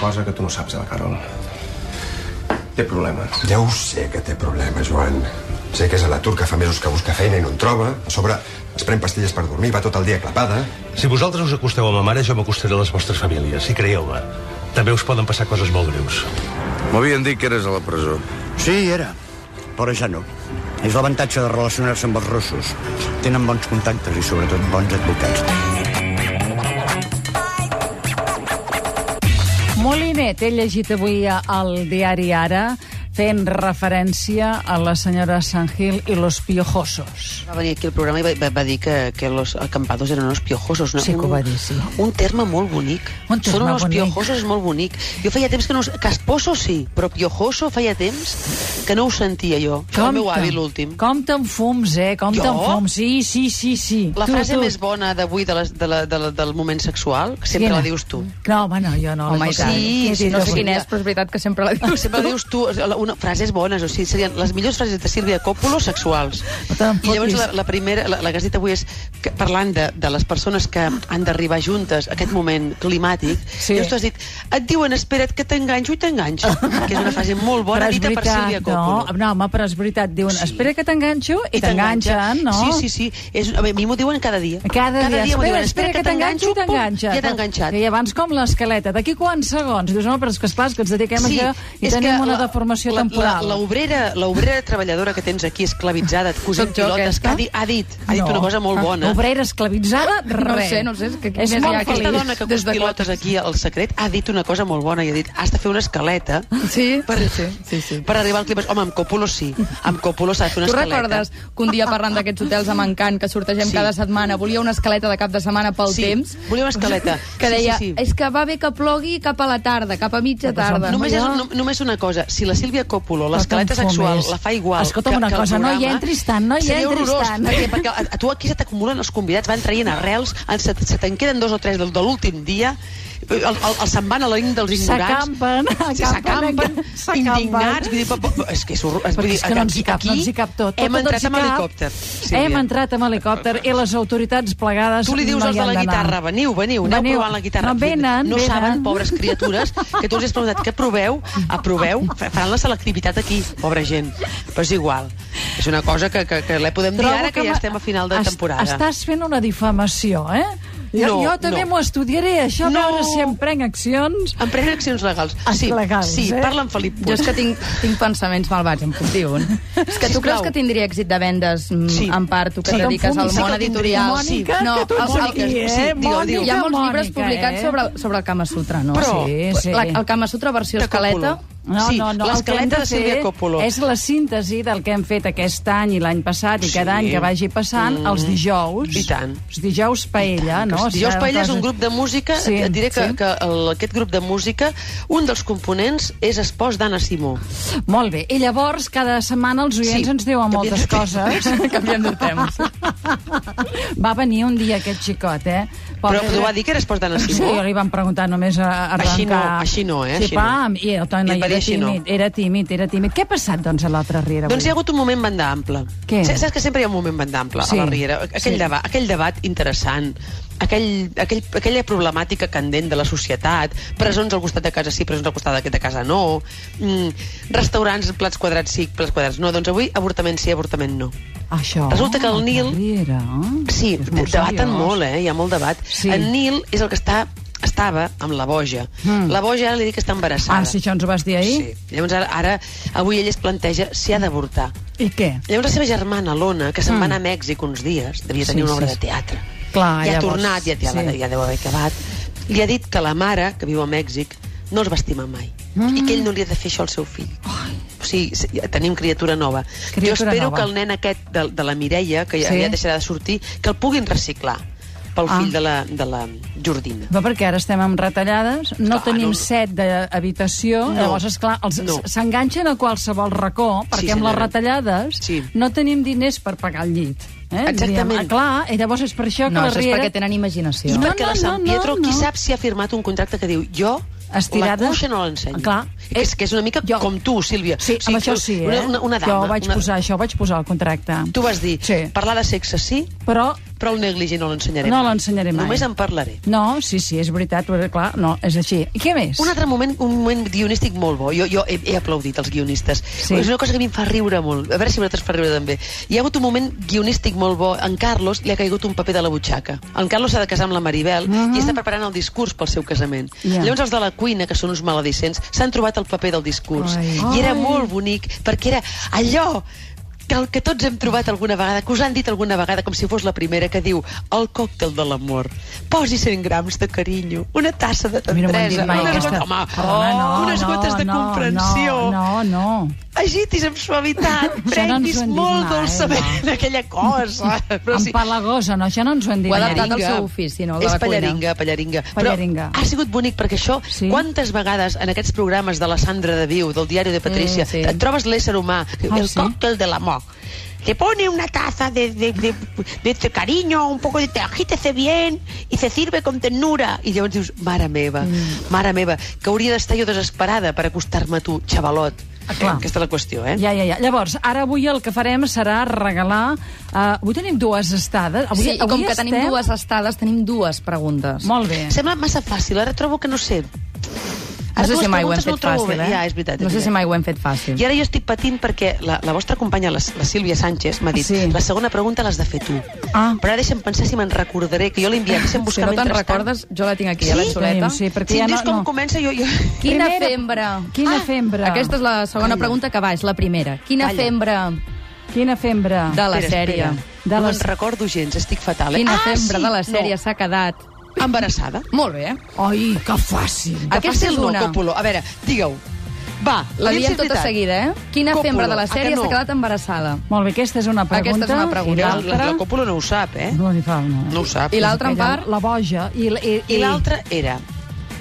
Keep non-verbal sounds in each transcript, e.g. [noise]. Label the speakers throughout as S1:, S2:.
S1: cosa que tu no saps, la Carol. Té problemes.
S2: Ja ho sé que té problemes, Joan. Sé que és a l'atur que fa mesos que busca feina i no en troba. A sobre, es pren pastilles per dormir, va tot el dia clapada.
S3: Si vosaltres us acosteu a ma mare, jo m'acostaré a les vostres famílies, i creieu-me. També us poden passar coses molt greus.
S4: M'havien dit que eres a la presó.
S5: Sí, era, però ja no. És l'avantatge de relacionar-se amb els russos. Tenen bons contactes i, sobretot, bons advocats.
S6: Molinet, he llegit avui al diari Ara fent referència a la senyora Sangil i los piojosos.
S7: Va venir aquí al programa i va, va, va dir que, que los acampados eren unos piojosos. No?
S6: Sí que ho va dir, sí.
S7: Un, un terme molt bonic.
S6: Un terme
S7: Són unos
S6: bonic.
S7: piojosos, és molt bonic. Jo feia temps que no... us- Casposo sí, però piojoso feia temps que no ho sentia jo. Això el meu avi l'últim.
S6: Com t'enfums, eh? Com
S7: Jo?
S6: t'enfums. Sí, sí, sí, sí.
S7: La frase més bona d'avui de les- de la- de la- del moment sexual, que sempre
S6: Quina?
S7: la dius tu.
S6: No, home, no, jo no.
S8: Home,
S6: la
S8: i
S6: dic.
S8: tant.
S7: Sí, sí,
S8: no
S7: no
S8: sé quina
S7: volia.
S8: és, però és veritat que sempre la dius.
S7: Ah, Sempre dius tu, la- una, frases bones, o sigui, serien les millors frases de Sílvia Coppolo sexuals.
S6: No te'n
S7: I llavors
S6: fotis.
S7: la, la primera, la, la que has dit avui és que, parlant de, de les persones que han d'arribar juntes a aquest moment climàtic,
S6: Sí.
S7: sí. llavors tu has dit, et diuen espera't que t'enganxo i t'enganxo, que és una frase molt
S6: Però
S7: bona
S6: és
S7: dita per Sílvia Coppolo.
S6: No, no, home, però és veritat. Diuen,
S7: Sí.
S6: espera que t'enganxo i, t'enganxen, no?
S7: Sí, sí, sí. És, a, mi m'ho diuen cada dia.
S6: Cada, dia,
S7: m'ho
S6: espera,
S7: diuen,
S6: espera, que t'enganxo i
S7: pum,
S6: t'enganxa.
S7: Ja t'he enganxat.
S6: I abans com l'escaleta, d'aquí quants segons? Dius, no, però és que esclar, és que ens
S8: Eh,
S6: dediquem a això i
S7: és
S6: tenim
S7: que
S6: una
S7: la-
S6: deformació
S7: la-
S6: temporal.
S7: la- L'obrera l'obrera treballadora que tens aquí esclavitzada, cosint
S8: Sóc jo,
S7: pilotes,
S8: aquesta?
S7: que ha, di, ha dit, ha dit
S6: No.
S7: una cosa molt bona.
S6: Obrera esclavitzada,
S7: [laughs]
S6: res.
S8: No sé, no sé, és que aquí
S6: és
S8: més hi
S6: molt
S8: ha
S6: feliç.
S7: Aquesta dona que
S8: Des
S7: cos
S8: de
S7: pilotes aquí al secret ha dit una cosa molt bona i ha dit has de fer una escaleta
S8: Sí,
S7: per,
S8: sí, sí, sí, sí.
S7: per arribar al clima. Home, amb Còpolo sí. Amb Còpolo s'ha de fer una
S8: Tu
S7: escaleta.
S8: recordes que un dia parlant d'aquests hotels amb encant que sortegem
S7: Sí.
S8: sí. cada setmana, volia una escaleta de cap de setmana pel
S7: Sí,
S8: temps?
S7: volia una escaleta.
S8: [laughs] Que
S7: Sí, sí,
S8: deia,
S7: sí.
S8: és que va bé que plogui cap a la tarda, cap a mitja tarda.
S7: Només, és,
S6: Allò-
S7: no, només una cosa, si la Sílvia Coppolo,
S6: No
S7: l'escaleta
S6: te'n
S7: sexual,
S6: fumis.
S7: la fa igual
S6: Escolta'm una
S7: el
S6: cosa, no hi
S7: programa,
S6: entris tant, no hi
S7: seria
S6: entris
S7: horrorós,
S6: tant.
S7: Perquè, perquè a, a tu aquí se t'acumulen els convidats, van traient arrels, en- se, se te'n queden dos o tres del, de l'últim dia, el, el, el se'n van a la ring dels ignorants.
S6: S'acampen,
S7: Sí, S'acampen,
S6: acampen, s'acampen.
S7: indignats. Vull dir, po- po- és que és horror.
S6: Perquè
S7: vull dir,
S6: és que no ens hi cap,
S7: aquí
S6: no ens hi cap tot.
S7: Hem
S6: tot,
S7: entrat
S6: tot
S7: amb
S6: ens hi cap.
S7: helicòpter.
S6: Hem
S7: Sílvia.
S6: entrat amb helicòpter i les autoritats plegades
S7: Tu li dius
S6: no
S7: als
S6: hi
S7: de
S6: han
S7: la
S6: d'anar.
S7: guitarra, veniu, veniu, aneu
S6: Veniu.
S7: provant la guitarra.
S6: No, venen,
S7: no
S6: venen.
S7: saben, pobres criatures, que tu els has preguntat que proveu, aproveu, fa- faran la selectivitat aquí, pobra gent. Però és igual. És una cosa que, que, que la podem dir
S6: Trobo
S7: ara, que, ja
S6: ma-
S7: estem a final de
S6: es-
S7: temporada.
S6: Estàs fent una difamació, eh? Jo,
S7: No,
S6: jo també
S7: no.
S6: m'ho estudiaré, això, a
S7: No.
S6: veure si em prenc accions.
S7: Em prenen accions legals.
S6: Ah,
S7: Sí,
S6: legals,
S7: sí,
S6: eh?
S7: parla amb Felip
S8: Jo
S7: Puig.
S8: és que tinc, tinc pensaments malvats, em puc dir un. És que
S7: Sisplau.
S8: tu creus que tindria èxit de vendes mm,
S7: Sí.
S8: sí. en part, tu que
S6: Sí,
S8: et
S6: que em
S8: dediques al
S6: fumis, sí
S8: món
S7: que el tindria.
S8: editorial?
S7: Mònica,
S6: que
S8: no,
S6: tu ets
S8: el-
S6: aquí,
S8: el-
S6: eh?
S8: sí, digue-ho, digue-ho. Hi ha molts
S6: Mònica,
S8: llibres
S6: eh?
S8: publicats sobre, sobre el Kama Sutra, no?
S7: Però-
S6: Sí, sí.
S8: La, el Kama Sutra versió
S7: De Coppola.
S8: escaleta...
S6: No,
S7: Sí,
S6: no, no. el que hem
S7: l'escaleta
S6: fer
S7: de Sílvia Coppolo.
S6: És la síntesi del que hem fet aquest any i l'any passat i
S7: Sí. Mm.
S6: cada any que vagi passant, els dijous.
S7: I tant.
S6: Els dijous paella,
S7: Que
S6: no?
S7: es- Dijous
S6: Serà
S7: Paella és
S6: cosa-
S7: un grup de música, sí, et diré que, sí. que el, aquest grup de música, un dels components és espòs d'Anna Simó.
S6: Molt bé. I llavors, cada setmana els oients
S7: Sí.
S6: ens diuen
S7: Canviem
S6: moltes
S7: de tema.
S6: coses.
S7: [laughs]
S8: Canviem de temps.
S6: Va venir un dia aquest xicot, eh?
S7: Però tu va dir que era espòs d'Anna
S6: Sí,
S7: Simó?
S6: jo li van preguntar només a a arrencar...
S7: Així no, així no, eh,
S6: Sí,
S7: així no.
S6: pam, i el
S7: I
S6: Toni
S7: et va dir
S6: era
S7: així no.
S6: tímid, era tímid, era tímid. Què ha passat, doncs, a l'altra riera avui?
S7: Doncs hi ha hagut un moment banda ampla.
S6: Què?
S7: Saps saps que sempre hi ha un moment banda ampla
S6: Sí.
S7: a la Riera? Aquell,
S6: Sí.
S7: sí. debat, aquell debat interessant, aquell, aquell, aquella problemàtica candent de la societat, presons al costat de casa sí, presons al costat de- de casa no, mm, restaurants, plats quadrats sí, plats quadrats no. Doncs avui avortament sí, avortament no.
S6: Això,
S7: Resulta que el
S6: a la
S7: Nil-
S6: Riera, eh?
S7: Sí,
S6: És molt
S7: debaten
S6: seriós.
S7: molt, eh? Hi ha molt debat.
S6: Sí.
S7: En Nil és el que està estava amb la boja.
S6: Mm.
S7: La boja ara li dic que està embarassada.
S6: Ah, sí, això ens ho vas dir ahir?
S7: Sí. Llavors ara, ara avui ell es planteja si ha d'avortar.
S6: I què?
S7: Llavors la seva germana, l'Ona, que se'n
S6: Mm.
S7: va anar a Mèxic uns dies, devia
S6: Sí,
S7: tenir una obra
S6: sí.
S7: de teatre.
S6: Clar,
S7: I ha
S6: llavors,
S7: tornat, ja, ja,
S6: sí.
S7: sí. ja deu haver acabat, i ha dit que la mare, que viu a Mèxic, no els va estimar mai.
S6: Mm.
S7: Mm. I que ell no li ha de fer això al seu fill. O sigui, se- ja tenim criatura nova.
S6: Criatura
S7: jo espero
S6: nova.
S7: que el nen aquest de, de la Mireia, que ja,
S6: Sí.
S7: ja deixarà de sortir, que el puguin reciclar pel
S6: Ah.
S7: ah. fill de la, de la Jordina.
S6: Però perquè ara estem amb retallades, no
S7: Clar,
S6: tenim
S7: no-
S6: set d'habitació,
S7: No.
S6: llavors, esclar, els-
S7: No.
S6: s'enganxen a qualsevol racó, perquè amb les
S7: senyora.
S6: retallades
S7: Sí.
S6: no tenim diners per pagar el llit. Eh?
S7: Exactament.
S6: Diem, ah, clar, i llavors és per això que
S8: No,
S6: la
S8: això és
S6: Riera...
S8: perquè tenen
S7: I
S8: imaginació.
S6: No,
S7: perquè
S6: no,
S7: la Sant
S6: no, no,
S7: Pietro, qui
S6: no.
S7: sap si ha firmat un contracte que diu jo
S6: Estirada?
S7: la cuixa no l'ensenyo.
S6: Clar.
S7: Que És que és una mica
S6: Jo-
S7: jo. com tu, Sílvia.
S6: Sí, amb això sí, eh?
S7: Una, una, una dama.
S6: jo ho vaig
S7: una...
S6: posar, això ho vaig posar al contracte.
S7: Tu vas dir,
S6: Sí.
S7: sí. parlar de sexe sí,
S6: Però
S7: però el negligent no l'ensenyarem.
S6: No
S7: mai.
S6: l'ensenyarem mai.
S7: Només en parlaré.
S6: No, sí, sí, és veritat, però, clar, no, és així. I què més?
S7: Un altre moment, un moment guionístic molt bo. Jo, jo he, he aplaudit els guionistes.
S6: Sí.
S7: Sí. És una cosa que a mi em fa riure molt. A veure si a vosaltres fa riure també. Hi ha hagut un moment guionístic molt bo. En Carlos li ha caigut un paper de la butxaca. En Carlos s'ha de casar amb la Maribel uh -huh. i està preparant el discurs pel seu casament.
S6: Mhm. Ja.
S7: Llavors els de la cuina, que són uns maledicents, s'han trobat el paper del discurs.
S6: Ai.
S7: I era
S6: Ai.
S7: molt bonic, perquè era allò que el que tots hem trobat alguna vegada, que us han dit alguna vegada, com si fos la primera, que diu el còctel de l'amor. Posi 100 grams de carinyo, una tassa de
S6: Mira, m'ho han dit
S7: Teresa,
S6: mai,
S7: eh? unes,
S6: aquesta.
S7: gotes, home,
S6: Perdona,
S8: Oh,
S6: no,
S7: unes
S6: no,
S7: gotes de
S6: no,
S7: comprensió.
S6: No, no,
S7: Agitis amb suavitat,
S6: [laughs] Això no ens ho han
S7: prenguis
S6: dit
S7: molt
S6: mai,
S7: dolçament [laughs] aquella cosa.
S6: no.
S7: Però
S6: Amb Palagosa, no, això no ens ho han dit.
S8: Ho ha
S6: mai.
S8: adaptat al seu ofici, no? El de
S7: és
S8: la cuina.
S7: pallaringa, pallaringa.
S6: Pallaringa.
S7: Però ha sigut bonic, perquè això,
S6: Sí.
S7: sí? quantes vegades en aquests programes de la Sandra de Viu, del diari de Patrícia,
S8: Mm,
S7: mm,
S8: sí. Ah,
S7: sí. et trobes l'ésser humà, el
S6: sí?
S7: còctel de l'amor. Que pone una taza de, de, de, de, de cariño, un poco de te agítese bien y se sirve con ternura. I llavors dius, mare meva, mm. mare meva, que hauria d'estar jo desesperada per acostar-me a tu, xavalot.
S6: Ah, clar.
S7: Aquesta és la qüestió, eh?
S6: Ja, ja, ja. Llavors, ara avui el que farem serà regalar... Uh, avui tenim dues estades. Avui,
S8: Sí, i com
S6: avui
S8: que
S6: estem...
S8: tenim dues estades, tenim dues preguntes.
S6: Molt bé.
S7: Sembla massa fàcil, ara trobo que no sé.
S8: No sé
S7: Ara
S8: si
S7: les
S8: mai ho hem
S7: preguntes no
S8: fet
S7: trobo
S8: fàcil,
S7: bé.
S8: eh?
S7: Ja, és veritat. és
S8: No sé si
S7: veritat.
S8: mai ho hem fet fàcil.
S7: I ara jo estic patint perquè la, la vostra companya, la, la Sílvia Sánchez, m'ha dit
S6: Sí.
S7: sí. la segona pregunta l'has de fer tu.
S6: Ah.
S7: Però ara deixa'm pensar si me'n recordaré, que jo l'he enviat. Deixa'm
S8: Si
S7: buscar
S8: no te'n
S7: mentrestant.
S8: recordes, jo la tinc aquí, a
S7: Sí?
S8: la xuleta.
S6: Sí, perquè
S7: Si
S6: ja
S7: em
S6: no,
S7: dius com
S6: no.
S7: comença, jo... jo...
S8: Quina
S6: Primera-
S8: fembra? Ah!
S6: Quina fembra?
S8: Aquesta és la segona pregunta que va, és la primera. Quina
S7: Calla.
S8: fembra
S6: Quina fembra?
S8: de la
S7: Espera,
S8: sèrie?
S7: espera.
S6: De
S7: no
S6: les-
S7: me'n recordo gens, estic fatal. Eh?
S8: Quina
S7: ah,
S8: fembra
S7: sí,
S8: de la sèrie
S7: No.
S8: s'ha quedat?
S7: Embarassada.
S8: Molt bé.
S6: Ai, que fàcil.
S7: Que
S8: Aquesta
S7: fàcil
S8: és una.
S7: No, Coppola. A veure, digue-ho. Va,
S8: La diem
S7: diem
S8: tota seguida, eh? Quina
S7: Còpula,
S8: fembra de la
S7: a que
S8: sèrie
S7: no?
S8: s'ha quedat embarassada?
S6: Molt bé, aquesta és una pregunta.
S8: Aquesta és una pregunta.
S6: I
S7: La, la,
S6: l'altra...
S7: la Còpula no ho sap, eh?
S6: No li fa una...
S7: No ho sap.
S8: I l'altra en
S6: Aquella-
S8: part?
S6: La boja. I, l- i,
S7: I l'altra era...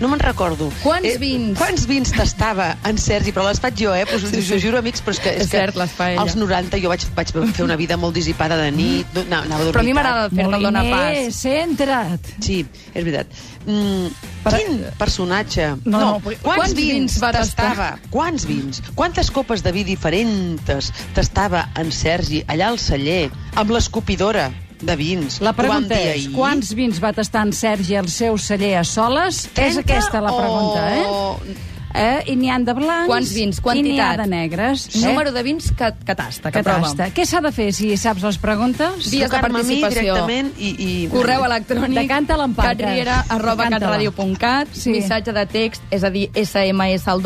S7: No me'n recordo. Eh,
S8: Quants vins?
S7: Quants vins tastava en Sergi? Però les faig jo, eh? Pues, us ho juro, amics, però és que... És,
S8: És cert, les fa
S7: que
S8: ella.
S7: als 90 jo vaig, vaig fer una vida molt dissipada de nit, no, anava a dormir
S8: Però a mi m'agrada
S7: tard.
S8: fer-te el dona pas.
S6: Moliners, centra't.
S7: Sí, és veritat. Mm, quin personatge...
S6: No, no, però-
S7: quants,
S8: Quants
S7: vins,
S8: vins va tastar?
S7: tastava? Quants vins? Quantes copes de vi diferents tastava en Sergi allà al celler amb l'escopidora de vins?
S6: La
S7: Ho vam
S6: pregunta
S7: dir
S6: és,
S7: ahir.
S6: quants vins va tastar en Sergi al seu celler a soles? És
S7: 30
S6: aquesta la pregunta,
S7: o-
S6: eh? Eh, I n'hi han de blancs
S8: Quants vins?
S6: i n'hi ha
S8: Quantitat?
S6: de negres.
S8: Número de vins que, que tasta, que,
S6: que
S8: prova.
S6: tasta. Què s'ha de fer, si saps les preguntes?
S8: Vies de
S7: Trucar-me a mi
S8: participació.
S7: directament i, i...
S8: Correu electrònic.
S6: Decanta l'empenta.
S8: Catriera arroba
S6: Decanta-la.
S8: catradio.cat.
S6: Sí.
S8: Sí. Missatge de text, és a dir, SMS al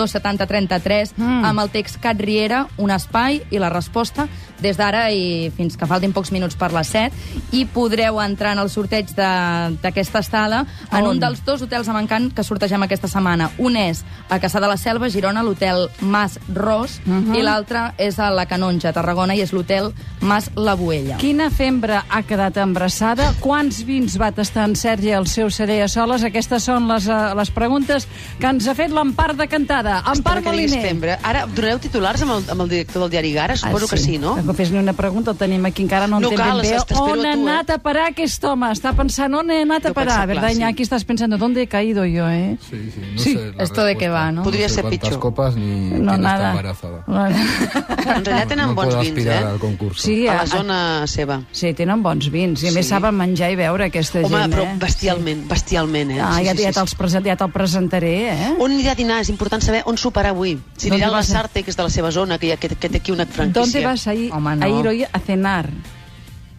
S8: 27033,
S6: Mm.
S8: mm. amb el text catriera, un espai i la resposta des d'ara i fins que faltin pocs minuts per les 7 i podreu entrar en el sorteig de- d'aquesta estada en
S6: On?
S8: un dels dos hotels amb encant que sortegem aquesta setmana. Un és a Caçà de la Selva, Girona, l'hotel Mas Ros, i l'altre és a la Canonja, a Tarragona, i és l'hotel Mas La Boella.
S6: Quina fembra ha quedat embarassada? Quants vins va tastar en Sergi al seu celler a soles? Aquestes són les, eh, les preguntes que ens ha fet l'Empar de Cantada. Empar
S7: Espera que diguis
S6: Moliner. Ah,
S7: fembra. Ara, donareu titulars amb el, amb el director del diari Gara? Ah, Suposo que sí, no?
S6: Tampoc fes-li una pregunta, el tenim aquí, encara no
S7: No
S6: entenc
S7: cal,
S6: ben bé.
S7: t'espero
S6: On
S7: tu,
S6: ha
S7: eh?
S6: anat a parar aquest home? Està pensant, on he anat a
S7: No
S6: parar?
S7: pensa,
S6: ¿Verdad,
S7: clar, sí.
S6: Iñaki? Estás pensando, ¿dónde he caído yo, eh?
S9: Sí, sí, no
S6: Sí,
S9: sé la
S8: esto de
S9: respuesta.
S8: qué va, ¿no?
S7: Podría
S9: sé
S7: ser
S9: cuántas
S7: picho.
S9: copas ni
S6: No,
S9: quién está
S6: nada.
S9: embarazada.
S7: [laughs]
S9: [laughs]
S7: Però en realitat tenen
S9: no
S7: bons
S9: puedo
S7: vins,
S9: aspirar al
S7: eh?
S9: concurso.
S6: Sí,
S7: A
S6: a,
S7: la zona seva.
S6: Sí, tenen bons vins. I a més
S7: Sí.
S6: saben menjar i beure, aquesta
S7: Home,
S6: gent,
S7: però
S6: eh?
S7: bestialment, bestialment, eh?
S6: Ah, ja, ja te'ls present, ja te'l presentaré, eh?
S7: On anirà a dinar? És important saber on superar avui. Si
S6: D'on
S7: anirà a
S6: vas
S7: la
S6: a-
S7: Sarte, que és de la seva zona, que, hi ha, que, que té aquí una franquícia.
S6: ¿Dónde vas a ir,
S8: Home, no.
S6: a ir hoy a cenar?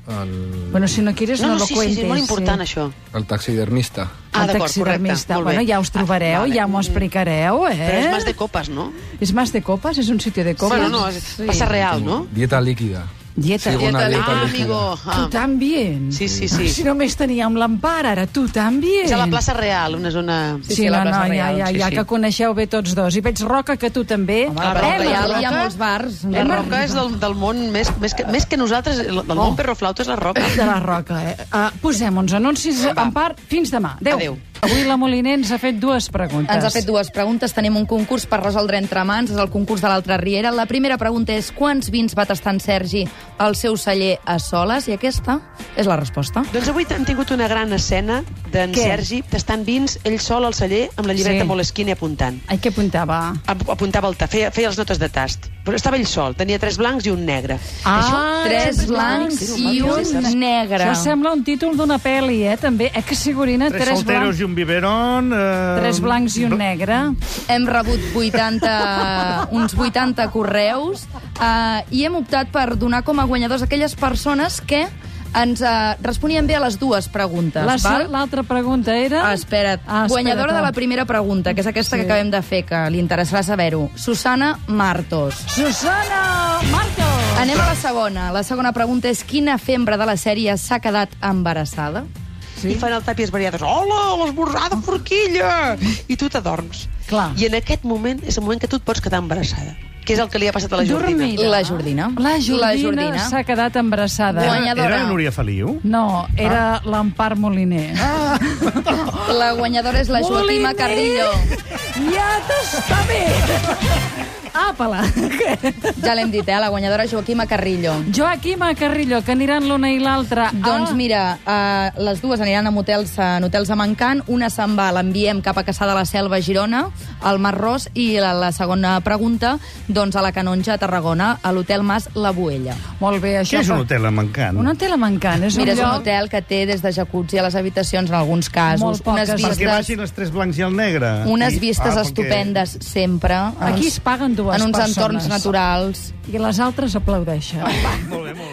S9: Al,
S6: Bueno, si no quieres,
S7: No,
S6: no,
S7: no,
S6: lo
S7: sí, sí,
S6: cuentes.
S7: sí, és molt important,
S6: sí.
S7: això.
S9: al taxidermista.
S7: Ah,
S6: El
S7: d'acord,
S6: taxidermista.
S7: correcte, molt bé.
S6: Bueno, ja us trobareu,
S7: Ah, vale.
S6: ja m'ho explicareu, eh?
S7: Però és més de copes, no?
S6: ¿Es más de copas? ¿Es un sitio de copas?
S7: Bueno, no, és passa real, no?
S9: Dieta líquida.
S6: Dieta.
S9: Sigo una
S8: Dieta
S9: dieta
S7: Ah,
S9: líquida.
S7: amigo.
S6: Tu
S7: Ah.
S6: también.
S7: Sí, sí, sí.
S6: Si només teníem l'empar, ara tu també.
S7: És a la plaça Real, una zona...
S6: Sí, sí,
S8: a
S6: no,
S8: la
S6: no,
S8: plaça
S6: ja,
S8: Reial,
S6: ja,
S7: sí,
S6: ja,
S7: sí.
S6: que coneixeu bé tots dos. I veig, Roca, que tu també.
S8: Home, la Plaça
S7: Eh, la
S8: Reial hi ha
S7: Roca?
S8: molts bars.
S7: La roca és del, del món, més, més, que, més que nosaltres, el- del món perroflauta és la roca.
S6: de la Roca, eh? Uh, posem uns anuncis en part. Fins demà. Adéu.
S7: Adéu.
S6: Avui la Moliner ens ha fet dues preguntes.
S8: Ens ha fet dues preguntes. Tenim un concurs per resoldre entre mans. És el concurs de l'altra Riera. La primera pregunta és quants vins va tastar en Sergi al seu celler a soles? I aquesta és la resposta.
S7: Doncs avui hem tingut una gran escena d'en
S6: Què?
S7: Sergi, tastant vins, ell sol al celler, amb la llibreta
S6: Sí.
S7: sí. Moleskine apuntant.
S6: Ai, què apuntava?
S7: Ap- apuntava el ta, feia, feia les notes de tast. Però estava ell sol, tenia tres blancs i un negre.
S6: Ah,
S8: Tres
S6: tres
S8: blancs i un negre.
S6: Això sembla un títol d'una pel·li, eh, també. Eh, que figurina,
S10: Tres,
S6: tres,
S10: solteros
S6: blancs,
S10: i un biberón... Eh...
S6: tres blancs i un negre.
S8: Hem rebut
S6: [laughs]
S8: 80, uns 80 correus eh, i hem optat per donar com a guanyadors aquelles persones que ens eh, responien bé a les dues preguntes.
S6: La se-
S8: val?
S6: L'altra pregunta era...
S8: Ah, espera't.
S6: Ah,
S8: Ah, Guanyadora
S6: espera't.
S8: de la primera pregunta, que és aquesta sí. que acabem de fer, que li interessarà saber-ho. Susana Martos.
S6: Susana Marcos!
S8: Anem a la segona. La segona pregunta és quina fembra de la sèrie s'ha quedat [gasps] embarassada?
S7: Sí? I fan el tàpies variades. Hola, l'esmorzar de forquilla! I tu t'adorms.
S6: Clar.
S7: I en aquest moment és el moment que tu et pots quedar embarassada. Que és el que li ha passat a la Jordina.
S6: Dormida.
S8: La Jordina.
S6: La
S8: La
S6: Jordina
S8: Jordina.
S6: s'ha quedat embarassada.
S8: Guanya- Ah.
S10: Era,
S8: guanyadora.
S10: era la Núria Feliu?
S6: No, era l'Empar Moliner.
S8: La guanyadora és Ah, la Joaquima
S6: Moliner!
S8: Carrillo.
S6: Ja t'està bé! Apa-la!
S8: Ja l'hem dit, eh? La guanyadora Joaquima Carrillo.
S6: Joaquima Carrillo, que aniran l'una i l'altra. a-
S8: Doncs mira, uh, les dues aniran a motels, en hotels a Mancant. Una se'n va, l'enviem cap a Caçà de la Selva, a Girona, al Mar Ros, i la, la segona pregunta, doncs a la Canonja, a Tarragona, a l'hotel Mas La Boella.
S6: Molt bé, això...
S10: Què és
S6: fa-
S10: un hotel mancant?
S6: Un hotel a Mancant, és
S8: Mira,
S6: un
S8: és un
S6: lloc...
S8: hotel que té des de jacuzzi a les habitacions, en alguns casos,
S6: Molt poques
S8: unes
S10: Perquè
S8: vistes,
S10: baixin els tres blancs i el negre.
S8: unes
S10: I-
S8: vistes
S10: ah, perquè-
S8: estupendes, sempre.
S6: Aquí es paguen dues
S8: En uns
S6: persones.
S8: entorns naturals.
S6: I les altres aplaudeixen.
S10: Molt bé, molt bé.